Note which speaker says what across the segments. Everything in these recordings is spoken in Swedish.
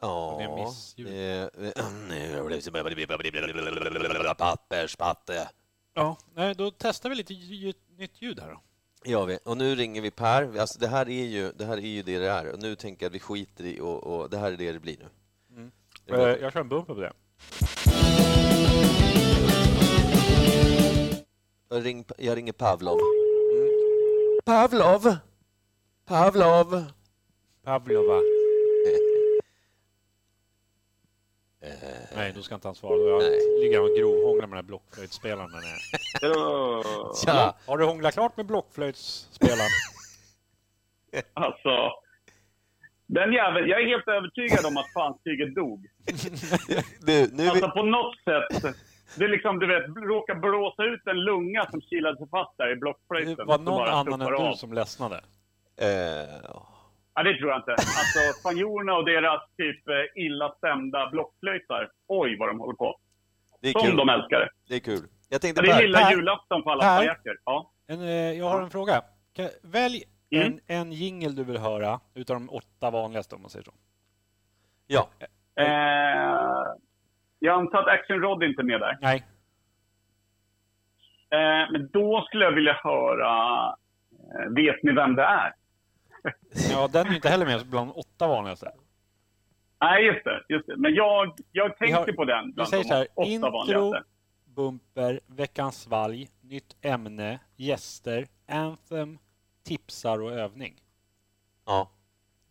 Speaker 1: Ja,
Speaker 2: Det är missljud.
Speaker 1: eh, papperspatte.
Speaker 2: Ja, nej, då testar vi lite ljud, nytt ljud här då.
Speaker 1: Ja, vi. Och nu ringer vi Per. Vi- Alltså, det, här är ju, det här är ju det det är. Och nu tänker jag att vi skiter i och, och det här är det det blir nu. Det är bra.
Speaker 2: Eh, Jag kör en bumper på det.
Speaker 1: Jag, ring, jag ringer Pavlov.
Speaker 2: Mm.
Speaker 1: Pavlov! Pavlov!
Speaker 2: Pavlova. Nej, då ska inte han svara. Då
Speaker 1: Nej.
Speaker 2: jag ligger han och grovhånglar med den här blockflöjtsspelaren. där nere.
Speaker 3: Hallå.
Speaker 1: Tja!
Speaker 2: Har du hånglat klart med blockflöjtsspelaren?
Speaker 3: Alltså. Den jäveln, jag är helt övertygad om att fanstyget dog.
Speaker 1: Du, nu är vi...
Speaker 3: Alltså på något sätt. Det är liksom, du vet, råkar blåsa ut en lunga som kilade sig fast där i
Speaker 2: Det
Speaker 3: blockflöjten.
Speaker 2: var
Speaker 3: Så
Speaker 2: någon
Speaker 3: bara
Speaker 2: annan
Speaker 3: tuppar
Speaker 2: än
Speaker 3: av.
Speaker 2: du som ledsnade.
Speaker 1: Eh,
Speaker 3: Ja, det tror jag inte. Alltså spanjorerna och deras typ eh, illa stämda blockflöjtar. Oj, vad de håller på.
Speaker 1: det är
Speaker 3: Som de
Speaker 1: kul.
Speaker 3: älskar det.
Speaker 1: Det är kul. Jag tänkte
Speaker 3: Ja, det är
Speaker 1: Per,
Speaker 3: lilla
Speaker 2: Per.
Speaker 3: julafton på alla
Speaker 2: Per.
Speaker 3: pajacker. Ja.
Speaker 2: En, eh, jag har en fråga. Kan, välj
Speaker 3: Mm.
Speaker 2: en, en jingel du vill höra, utav de åtta vanligaste om man säger så.
Speaker 1: Ja.
Speaker 3: Eh, jag antar att Action Rod inte är med där.
Speaker 2: Nej.
Speaker 3: Eh, men då skulle jag vilja höra... Eh, vet ni vem det är?
Speaker 2: Ja, den är inte heller med bland de åtta vanligaste.
Speaker 3: Nej, just det. Just det. Men jag, jag tänker
Speaker 2: har-
Speaker 3: på den
Speaker 2: Vi
Speaker 3: bland
Speaker 2: säger
Speaker 3: de
Speaker 2: så här,
Speaker 3: åtta
Speaker 2: intro,
Speaker 3: vanligaste.
Speaker 2: bumper, veckans svalg, nytt ämne, gäster, anthem, tipsar och övning.
Speaker 1: ja,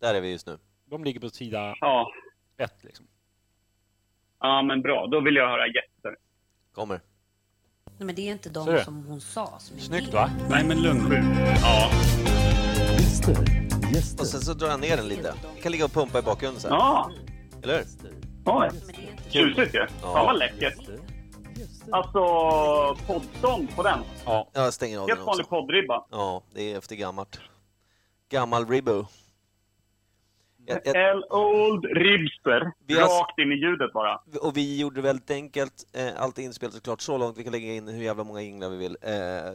Speaker 1: där är vi just nu.
Speaker 2: De ligger på sida
Speaker 3: Ja.
Speaker 2: ett. Liksom.
Speaker 3: ja, men bra. Då vill jag höra gäster.
Speaker 1: Kommer.
Speaker 4: Nej, men det är inte
Speaker 2: Ser
Speaker 4: de
Speaker 2: du?
Speaker 4: som hon sa. Som är
Speaker 2: Snyggt
Speaker 4: med.
Speaker 2: va?
Speaker 3: Nej, men lugn. Sju. Ja.
Speaker 5: Gäster,
Speaker 1: Och
Speaker 5: gäster,
Speaker 1: sen så drar jag ner den lite. Vi kan ligga och pumpa i bakgrunden sen.
Speaker 3: Ja,
Speaker 1: Eller hur?
Speaker 3: oj.
Speaker 4: Men det är inte
Speaker 3: Tjusigt ju. Fan vad läckert.
Speaker 5: gäster.
Speaker 3: Alltså, poddsång på den.
Speaker 2: Ja.
Speaker 1: Jag stänger av den
Speaker 3: Helt vanlig
Speaker 1: också.
Speaker 3: poddribba.
Speaker 1: Ja, det är efter gammalt. Gammal ribbo. Jag, jag,
Speaker 3: El Old Ribster.
Speaker 1: Vi har-
Speaker 3: Rakt in i ljudet bara.
Speaker 1: och vi gjorde det väldigt enkelt. Eh, Allt är inspelat såklart så långt. Vi kan lägga in hur jävla många jinglar vi vill. Eh,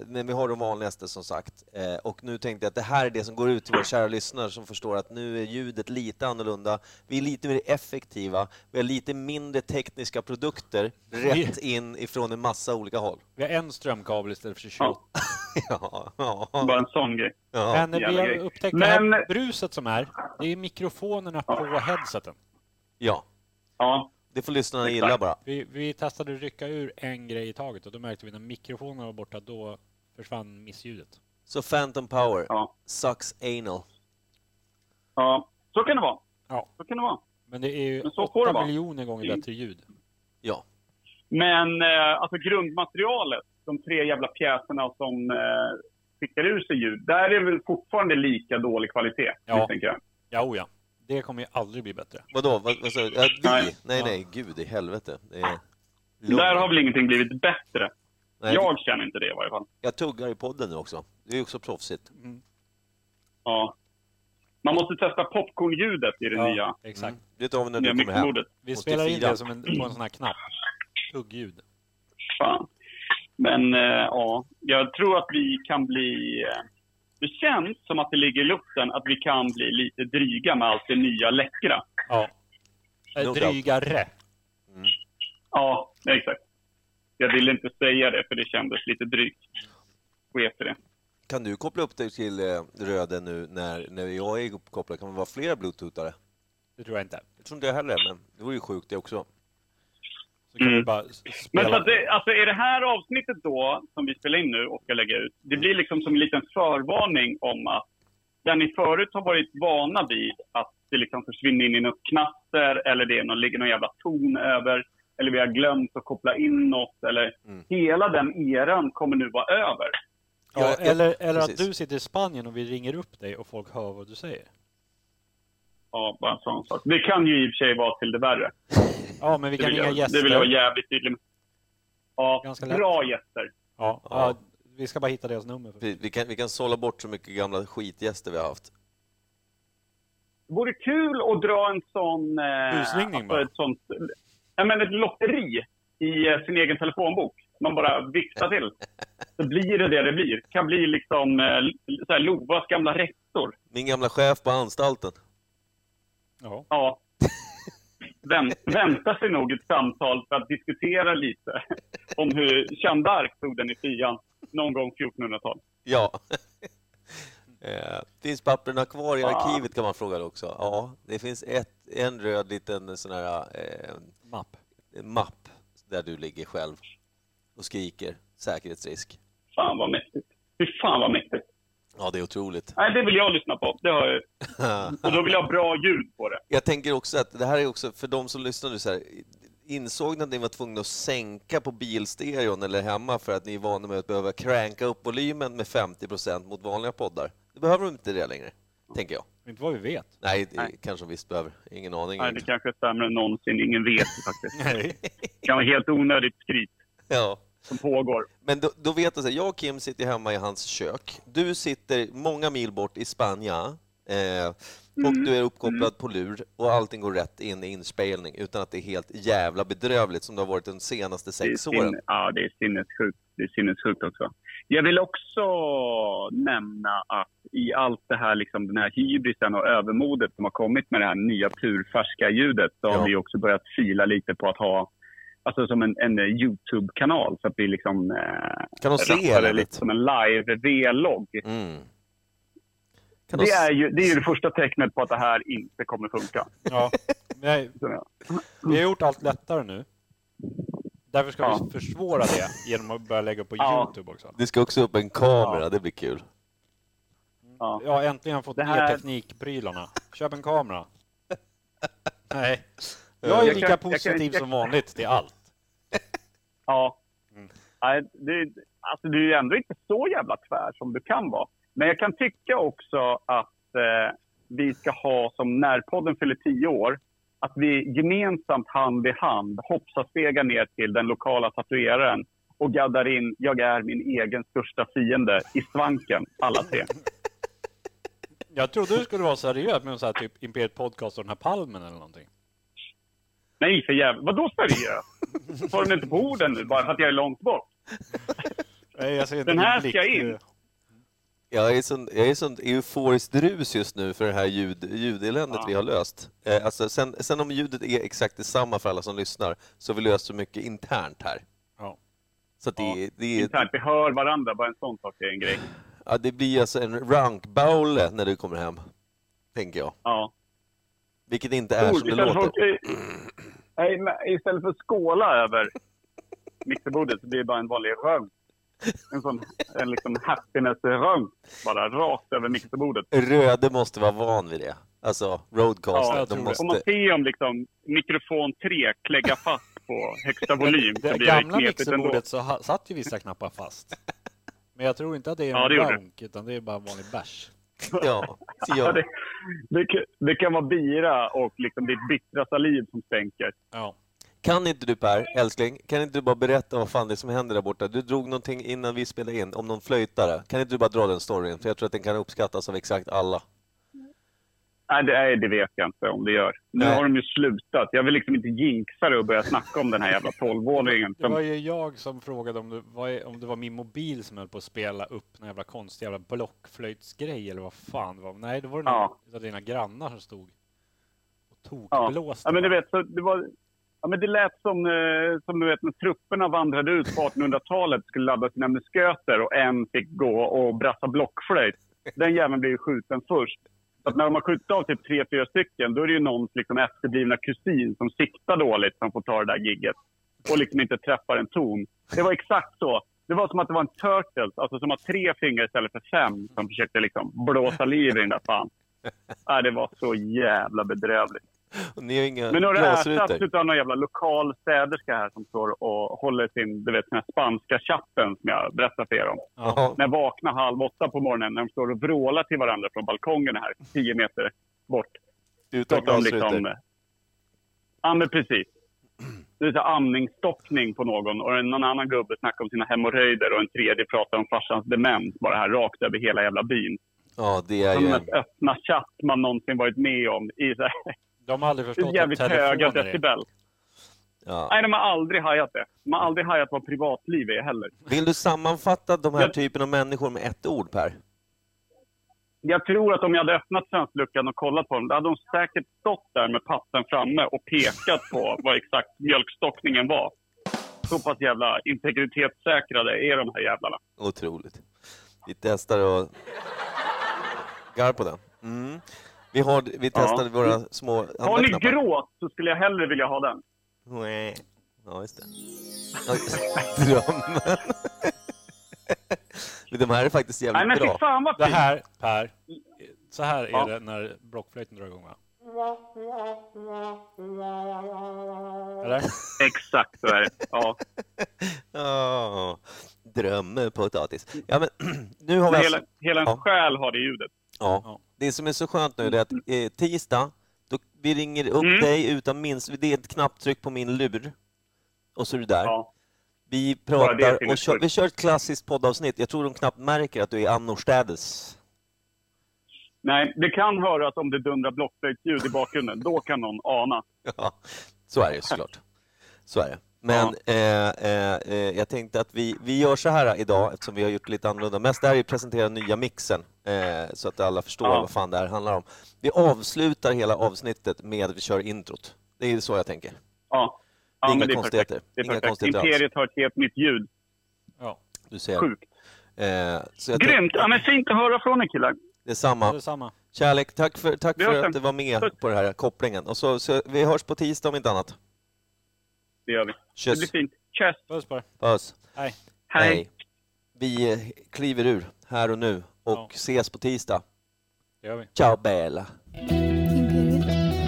Speaker 1: Men vi har de vanligaste som sagt. Eh, Och nu tänkte jag att det här är det som går ut till våra kära lyssnare som förstår att nu är ljudet lite annorlunda. Vi är lite mer effektiva. Vi har lite mindre tekniska produkter rätt in ifrån en massa olika håll.
Speaker 2: Vi har en strömkabel istället för 28.
Speaker 1: Ja, ja,
Speaker 3: Bara en sån grej.
Speaker 1: ja.
Speaker 2: Men vi
Speaker 3: jävla
Speaker 2: har
Speaker 3: grej.
Speaker 2: upptäckt det här
Speaker 3: Men-
Speaker 2: bruset som är, det är mikrofonerna på headseten.
Speaker 1: ja.
Speaker 3: Ja.
Speaker 1: Det får lyssnarna
Speaker 3: Exakt.
Speaker 1: gilla bara.
Speaker 2: Vi, vi testade att rycka ur en grej i taget och då märkte vi när mikrofonerna var borta, då försvann missljudet.
Speaker 1: Så Phantom Power
Speaker 3: Ja.
Speaker 1: sucks anal.
Speaker 3: ja. Så kan det vara.
Speaker 2: Ja.
Speaker 3: Så kan det vara.
Speaker 2: Men det är ju
Speaker 3: Men så får det
Speaker 2: 8
Speaker 3: vara.
Speaker 2: miljoner gånger
Speaker 3: Mm.
Speaker 2: bättre ljud.
Speaker 1: Ja.
Speaker 3: Men eh, alltså grundmaterialet, de tre jävla pjäserna som eh, skickar ur sig ljud, där är väl fortfarande lika dålig kvalitet,
Speaker 2: Ja.
Speaker 3: misstänker jag.
Speaker 2: Ja, oh ja. Det kommer ju aldrig bli bättre.
Speaker 1: Vadå? Vad, vad sa du? Ja, vi? Nej.
Speaker 3: Nej.
Speaker 1: nej, gud i helvete. Det är...
Speaker 3: Där har väl ingenting blivit bättre.
Speaker 1: nej, jag...
Speaker 3: Jag känner inte det i varje fall.
Speaker 1: tuggar i podden nu också. Det är ju också proffsigt.
Speaker 2: Mm.
Speaker 3: Ja. Man måste testa popcornljudet i det nya,
Speaker 2: exakt.
Speaker 1: Det tar vi när
Speaker 3: nya
Speaker 1: Mm. du kommer hem.
Speaker 3: mikrobordet.
Speaker 2: Vi
Speaker 1: Och
Speaker 2: spelar in
Speaker 1: 84.
Speaker 2: det som en, på en sån här knapp. Tuggljud.
Speaker 3: Fan. Men eh, ja, jag tror att vi kan bli... Eh, det känns som att det ligger i luften att vi kan bli lite dryga med allt det nya läckra.
Speaker 2: Ja. Eh,
Speaker 1: No doubt.
Speaker 2: Drygare.
Speaker 3: Ja, exakt. Jag ville inte säga det, för det kändes lite drygt. Sket i det.
Speaker 1: Kan du koppla upp dig till eh, röden nu när, när jag är uppkopplad? Kan man vara flera bluetoothare?
Speaker 2: Det tror jag inte.
Speaker 1: Jag tror inte det heller, men det vore ju sjukt det också.
Speaker 2: Så kan
Speaker 3: Mm.
Speaker 2: vi bara s-
Speaker 3: Men så
Speaker 2: spela.
Speaker 3: att det, alltså är det här avsnittet då, som vi spelar in nu och ska lägga ut, det blir liksom som en liten förvarning om att där ni förut har varit vana vid att det liksom försvinner in i något knaster eller det är någon, ligger någon jävla ton över eller vi har glömt att koppla in något eller
Speaker 1: Mm.
Speaker 3: hela den eran kommer nu vara över.
Speaker 2: ja,
Speaker 1: Ja, ja,
Speaker 2: eller eller att
Speaker 1: precis.
Speaker 2: du sitter i Spanien och vi ringer upp dig och folk hör vad du säger.
Speaker 3: Ja, bara en sån sak. Det kan ju i och för sig vara till det värre.
Speaker 2: Ja, men vi
Speaker 3: Det
Speaker 2: kan
Speaker 3: vill,
Speaker 2: ringa
Speaker 3: jag,
Speaker 2: gäster.
Speaker 3: det vill jag vara jävligt tydlig med. Ja,
Speaker 2: Ganska lätt.
Speaker 3: bra gäster.
Speaker 2: ja, ja, vi ska bara hitta deras nummer. först.
Speaker 1: Vi, vi, kan, vi kan sålla bort så mycket gamla skitgäster vi har haft.
Speaker 3: Det vore kul att dra en sån... eh,
Speaker 2: Busringning bara.
Speaker 3: ett sånt, ja, men ett lotteri i eh, sin egen telefonbok. Man bara viftar till. Så blir det det det blir. Det kan bli liksom eh, så här, Lovas gamla rektor.
Speaker 1: Min gamla chef på anstalten.
Speaker 2: Ja.
Speaker 3: Ja. vänt, väntar sig nog ett samtal för att diskutera lite om hur Jeanne d'Arc tog den i fian någon gång 1400-tal.
Speaker 1: Ja. Eh, finns papperna kvar i arkivet kan man fråga också. Ja, det finns ett, en röd liten sån här eh,
Speaker 2: Mapp.
Speaker 1: mapp där du ligger själv och skriker säkerhetsrisk.
Speaker 3: Fan vad mäktigt. Fy fan vad mäktigt.
Speaker 1: Ja, det är otroligt.
Speaker 3: Nej, det vill jag lyssna på. Det har jag. ju. Och då vill jag ha bra ljud på det.
Speaker 1: Jag tänker också att det här är också för de som lyssnar nu så här. Insåg ni att ni var tvungna att sänka på bilstereon eller hemma för att ni är vana med att behöva cranka upp volymen med 50 mot vanliga poddar? Det behöver de inte det längre, tänker jag.
Speaker 2: Inte vad vi vet.
Speaker 1: Nej, det
Speaker 3: Nej.
Speaker 1: kanske de visst behöver. Ingen aning.
Speaker 3: Nej, det
Speaker 1: egentligen.
Speaker 3: kanske är sämre än någonsin. Ingen vet faktiskt.
Speaker 2: Nej.
Speaker 3: Det kan vara helt onödigt skryt
Speaker 1: ja.
Speaker 3: som pågår.
Speaker 1: Men då, då vet jag, så här, jag och Kim sitter hemma i hans kök. Du sitter många mil bort i Spanien eh, och
Speaker 3: Mm.
Speaker 1: du är uppkopplad på lur och allting går rätt in i inspelning utan att det är helt jävla bedrövligt som det har varit de senaste
Speaker 3: Det är,
Speaker 1: sex åren.
Speaker 3: sin, ja, det är sinnessjukt. Det är sinnessjukt också. Jag vill också nämna att i allt det här, liksom den här hybrisen och övermodet som har kommit med det här nya purfärska ljudet, så
Speaker 1: Ja.
Speaker 3: har vi också börjat fila lite på att ha, alltså som en, en YouTube-kanal, så att vi liksom eh,
Speaker 1: Kan de se
Speaker 3: rappar det
Speaker 1: henne?
Speaker 3: lite som en live vlogg.
Speaker 1: Mm. Kan de
Speaker 3: Det
Speaker 1: s-
Speaker 3: är, ju, det är ju det första tecknet på att det här inte kommer funka.
Speaker 2: Ja. Nej,
Speaker 3: Så, ja.
Speaker 2: vi har gjort allt lättare nu. Därför ska
Speaker 3: Ja.
Speaker 2: vi försvåra det genom att börja lägga på
Speaker 3: Ja.
Speaker 2: Youtube också.
Speaker 1: Det ska också upp en kamera, det blir kul.
Speaker 3: Ja.
Speaker 2: Jag har äntligen fått
Speaker 3: Det
Speaker 2: ner
Speaker 3: här-
Speaker 2: teknikprylarna. Köp en kamera. Nej. Jag är
Speaker 3: Jag
Speaker 2: lika
Speaker 3: kan- jag kan-
Speaker 2: positiv
Speaker 3: jag kan-
Speaker 2: som vanligt till allt.
Speaker 3: Ja. Nej, det, alltså, du är ju ändå inte så jävla tvär som du kan vara. Men jag kan tycka också att eh, vi ska ha, som när podden fyller tio år, att vi gemensamt hand i hand hoppsar ner till den lokala tatueraren och gaddar in “Jag är min egen största fiende” i svanken, alla tre.
Speaker 2: Jag trodde du skulle vara seriös med så här typ Imperiet Podcast och den här palmen eller någonting.
Speaker 3: Nej, för jävlar. Vadå seriöst? Tar du mig inte på orden nu bara för att jag är långt bort?
Speaker 2: Nej, jag ser inte
Speaker 3: Den
Speaker 2: din
Speaker 3: här
Speaker 2: blick.
Speaker 3: ska in.
Speaker 1: Jag är sån, jag är sån euforiskt rus just nu för det här ljud, ljudeländet
Speaker 3: Ja.
Speaker 1: vi har löst. Eh, alltså sen, sen om ljudet är exakt detsamma för alla som lyssnar så har vi löst så mycket internt här.
Speaker 2: Ja.
Speaker 1: Så att det,
Speaker 3: Ja,
Speaker 1: det, är-
Speaker 3: Internt, vi hör varandra, bara en sån sak är en grej.
Speaker 1: ja, det blir alltså en rankbaule när du kommer hem, tänker jag.
Speaker 3: Ja.
Speaker 1: Vilket inte är som Äh, det
Speaker 3: Istället för
Speaker 1: låter.
Speaker 3: att- Nej, men istället för att skåla över mixerbordet så blir det bara en vanlig rönt. En sån en liksom happiness-rönt. Bara rakt över mixerbordet.
Speaker 1: Röde måste vara van vid det. Alltså, roadcast.
Speaker 3: Ja,
Speaker 2: jag
Speaker 1: de
Speaker 2: tror det.
Speaker 1: måste...
Speaker 3: Får man se om liksom mikrofon 3 klägga fast på högsta volym så
Speaker 2: Det
Speaker 3: blir det
Speaker 2: gamla
Speaker 3: knepigt ändå.
Speaker 2: mixerbordet så ha- satt ju vissa knappar fast. Men jag tror inte att det är
Speaker 3: Ja,
Speaker 2: en
Speaker 3: det gjorde
Speaker 2: rank, utan det är bara en vanlig bärs.
Speaker 1: Ja, så
Speaker 3: Ja,
Speaker 1: jag...
Speaker 3: det, det, kan- det kan vara bira och liksom ditt bittra saliv som stänker.
Speaker 2: Ja.
Speaker 1: Kan inte du Per, älskling, kan inte du bara berätta vad fan det är som händer där borta? Du drog någonting innan vi spelade in om någon flöjtare. Kan inte du bara dra den storyn? För jag tror att den kan uppskattas av exakt alla.
Speaker 3: Nej, det, nej, det vet jag inte om det gör. Nu
Speaker 1: Nej.
Speaker 3: har de ju slutat. Jag vill liksom inte jinxa det och börja snacka om den här jävla 12-åringen.
Speaker 2: Det
Speaker 3: som-
Speaker 2: var ju jag som frågade om det, vad är, om det var min mobil som höll på att spela upp någon jävla konstig jävla blockflöjtsgrej eller vad fan det var. Nej, det var någon
Speaker 3: Ja.
Speaker 2: av dina grannar som stod och
Speaker 3: Ja.
Speaker 2: tokblåste.
Speaker 3: ja, men du vet, så det var... Ja, men det lät som, eh, som du vet, när trupperna vandrade ut på 1800-talet skulle ladda sina musköter och en fick gå och brassa blockflöjt. Den jäveln blev ju skjuten först. Så att när de har skjutit av typ tre, fyra stycken, då är det ju någons liksom, efterblivna kusin som siktar dåligt som får ta det där gigget och liksom inte träffar en ton. Det var exakt så. Det var som att det var en Turtles, alltså som har tre fingrar istället för fem, som försökte liksom blåsa liv i den där fan. Ja, det var så jävla bedrövligt.
Speaker 1: Och ni har inga
Speaker 3: Men nu har det ersatts
Speaker 1: glasrutor.
Speaker 3: utav någon jävla lokal städerska här som står och håller sin, du vet, den här spanska chatten som jag berättade för er om.
Speaker 2: Ja.
Speaker 3: När jag vaknar halv åtta på morgonen när de står och vrålar till varandra från balkongen här, tio meter bort.
Speaker 1: utan
Speaker 3: Pratar om
Speaker 1: glasrutor.
Speaker 3: liksom... Ja, men precis. Det är så här amningsstockning på någon och en någon annan gubbe snackar om sina hemorrojder och en tredje pratar om farsans demens bara här rakt över hela jävla byn.
Speaker 1: Ja, det är
Speaker 3: Som
Speaker 1: ju...
Speaker 3: den mest öppna chatt man någonsin varit med om i så här,
Speaker 2: De har aldrig förstått vad
Speaker 3: jävligt höga
Speaker 2: telefoner är.
Speaker 3: decibel.
Speaker 1: Ja.
Speaker 3: Nej, de har aldrig hajat det. De har aldrig hajat vad privatliv är heller.
Speaker 1: Vill du sammanfatta de här
Speaker 3: Jag-
Speaker 1: typen av människor med ett ord Per?
Speaker 3: Jag tror att om jag hade öppnat fönsterluckan och kollat på dem, då hade de säkert stått där med patten framme och pekat på vad exakt mjölkstockningen var. Så pass jävla integritetssäkrade är de här jävlarna.
Speaker 1: Otroligt. Vi testar och gar på den. Mm. Vi, har, vi testade våra små
Speaker 3: Har ni
Speaker 1: handknappar.
Speaker 3: gråt så skulle jag hellre vilja ha den.
Speaker 1: Nej. Ja, just det. Ja, Drömmen. Men De här är faktiskt
Speaker 3: Nej men
Speaker 1: jävligt
Speaker 3: fy
Speaker 1: bra.
Speaker 3: fan vad
Speaker 2: Det
Speaker 3: fint!
Speaker 2: här, Per. Så här är
Speaker 3: Ja.
Speaker 2: det när blockflöjten drar igång, va? Eller?
Speaker 3: Exakt så är det. Ja.
Speaker 1: Oh, drömpotatis. Ja, men nu har vi
Speaker 3: Men
Speaker 1: alltså...
Speaker 3: hela, hela ens
Speaker 1: Ja.
Speaker 3: själ har det ljudet.
Speaker 1: Ja.
Speaker 2: Ja.
Speaker 1: Det som är så skönt nu det är att eh, tisdag, då vi ringer upp
Speaker 3: Mm.
Speaker 1: dig utan minst... Det är ett knapptryck på min lur. Och så är du där.
Speaker 3: Ja.
Speaker 1: Vi
Speaker 3: Bara det är
Speaker 1: pratar och
Speaker 3: tillräckligt.
Speaker 1: kör, vi kör ett klassiskt poddavsnitt. Jag tror de knappt märker att du är annorstädes.
Speaker 3: Nej, det kan höras om det dundrar blockflöjtsljud i bakgrunden. Då kan någon ana.
Speaker 1: Ja, så är det ju såklart. Så är det. Men eh, eh, eh, jag tänkte att vi, vi gör så här idag, eftersom vi har gjort lite annorlunda. Mest det här är att presentera nya mixen, eh, så att alla förstår
Speaker 3: Ja.
Speaker 1: vad fan det här handlar om. Vi avslutar hela avsnittet med att vi kör introt. Det är så jag tänker.
Speaker 3: Ja. ja
Speaker 1: Inga
Speaker 3: men det är
Speaker 1: konstigheter.
Speaker 3: Perfekt. Det är
Speaker 1: Inga
Speaker 3: perfekt.
Speaker 1: konstigheter alls.
Speaker 3: Imperiet har ett helt nytt ljud.
Speaker 2: Ja,
Speaker 1: Du ser.
Speaker 3: Sjukt.
Speaker 1: Eh, så jag
Speaker 3: Grymt!
Speaker 1: tänker-
Speaker 3: Ja, men fint att höra från er killar.
Speaker 1: Det är samma.
Speaker 2: det är samma.
Speaker 1: Kärlek, tack för, tack
Speaker 3: Vi
Speaker 1: för
Speaker 3: hörs
Speaker 1: att
Speaker 3: sen.
Speaker 1: du var med
Speaker 3: Puss.
Speaker 1: på den här kopplingen. Och så, så, vi hörs på tisdag om inte annat.
Speaker 3: Det gör vi. Det blir
Speaker 1: Kyss,
Speaker 3: fint. Tjus!
Speaker 2: Puss på er.
Speaker 1: puss,
Speaker 2: Hej.
Speaker 3: Hej!
Speaker 1: Vi eh, kliver ur här och nu och
Speaker 2: Ja.
Speaker 1: ses på tisdag.
Speaker 2: Det gör vi.
Speaker 1: Ciao Bella!
Speaker 6: Imperiet. Imperiet.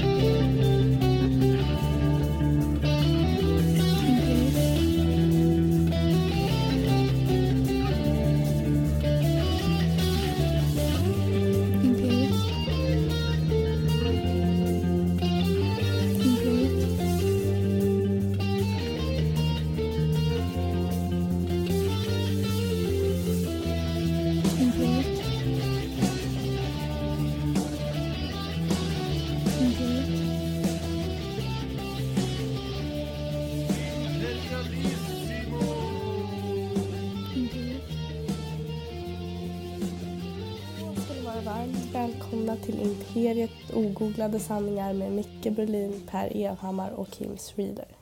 Speaker 6: Imperiet. Imperiet. Imperiet. Imperiet. Imperiet.
Speaker 7: ska ni vara varmt välkomna till Imperiet ogooglade sanningar med Micke Berlin, Per Evhammar och Kim Schreeder.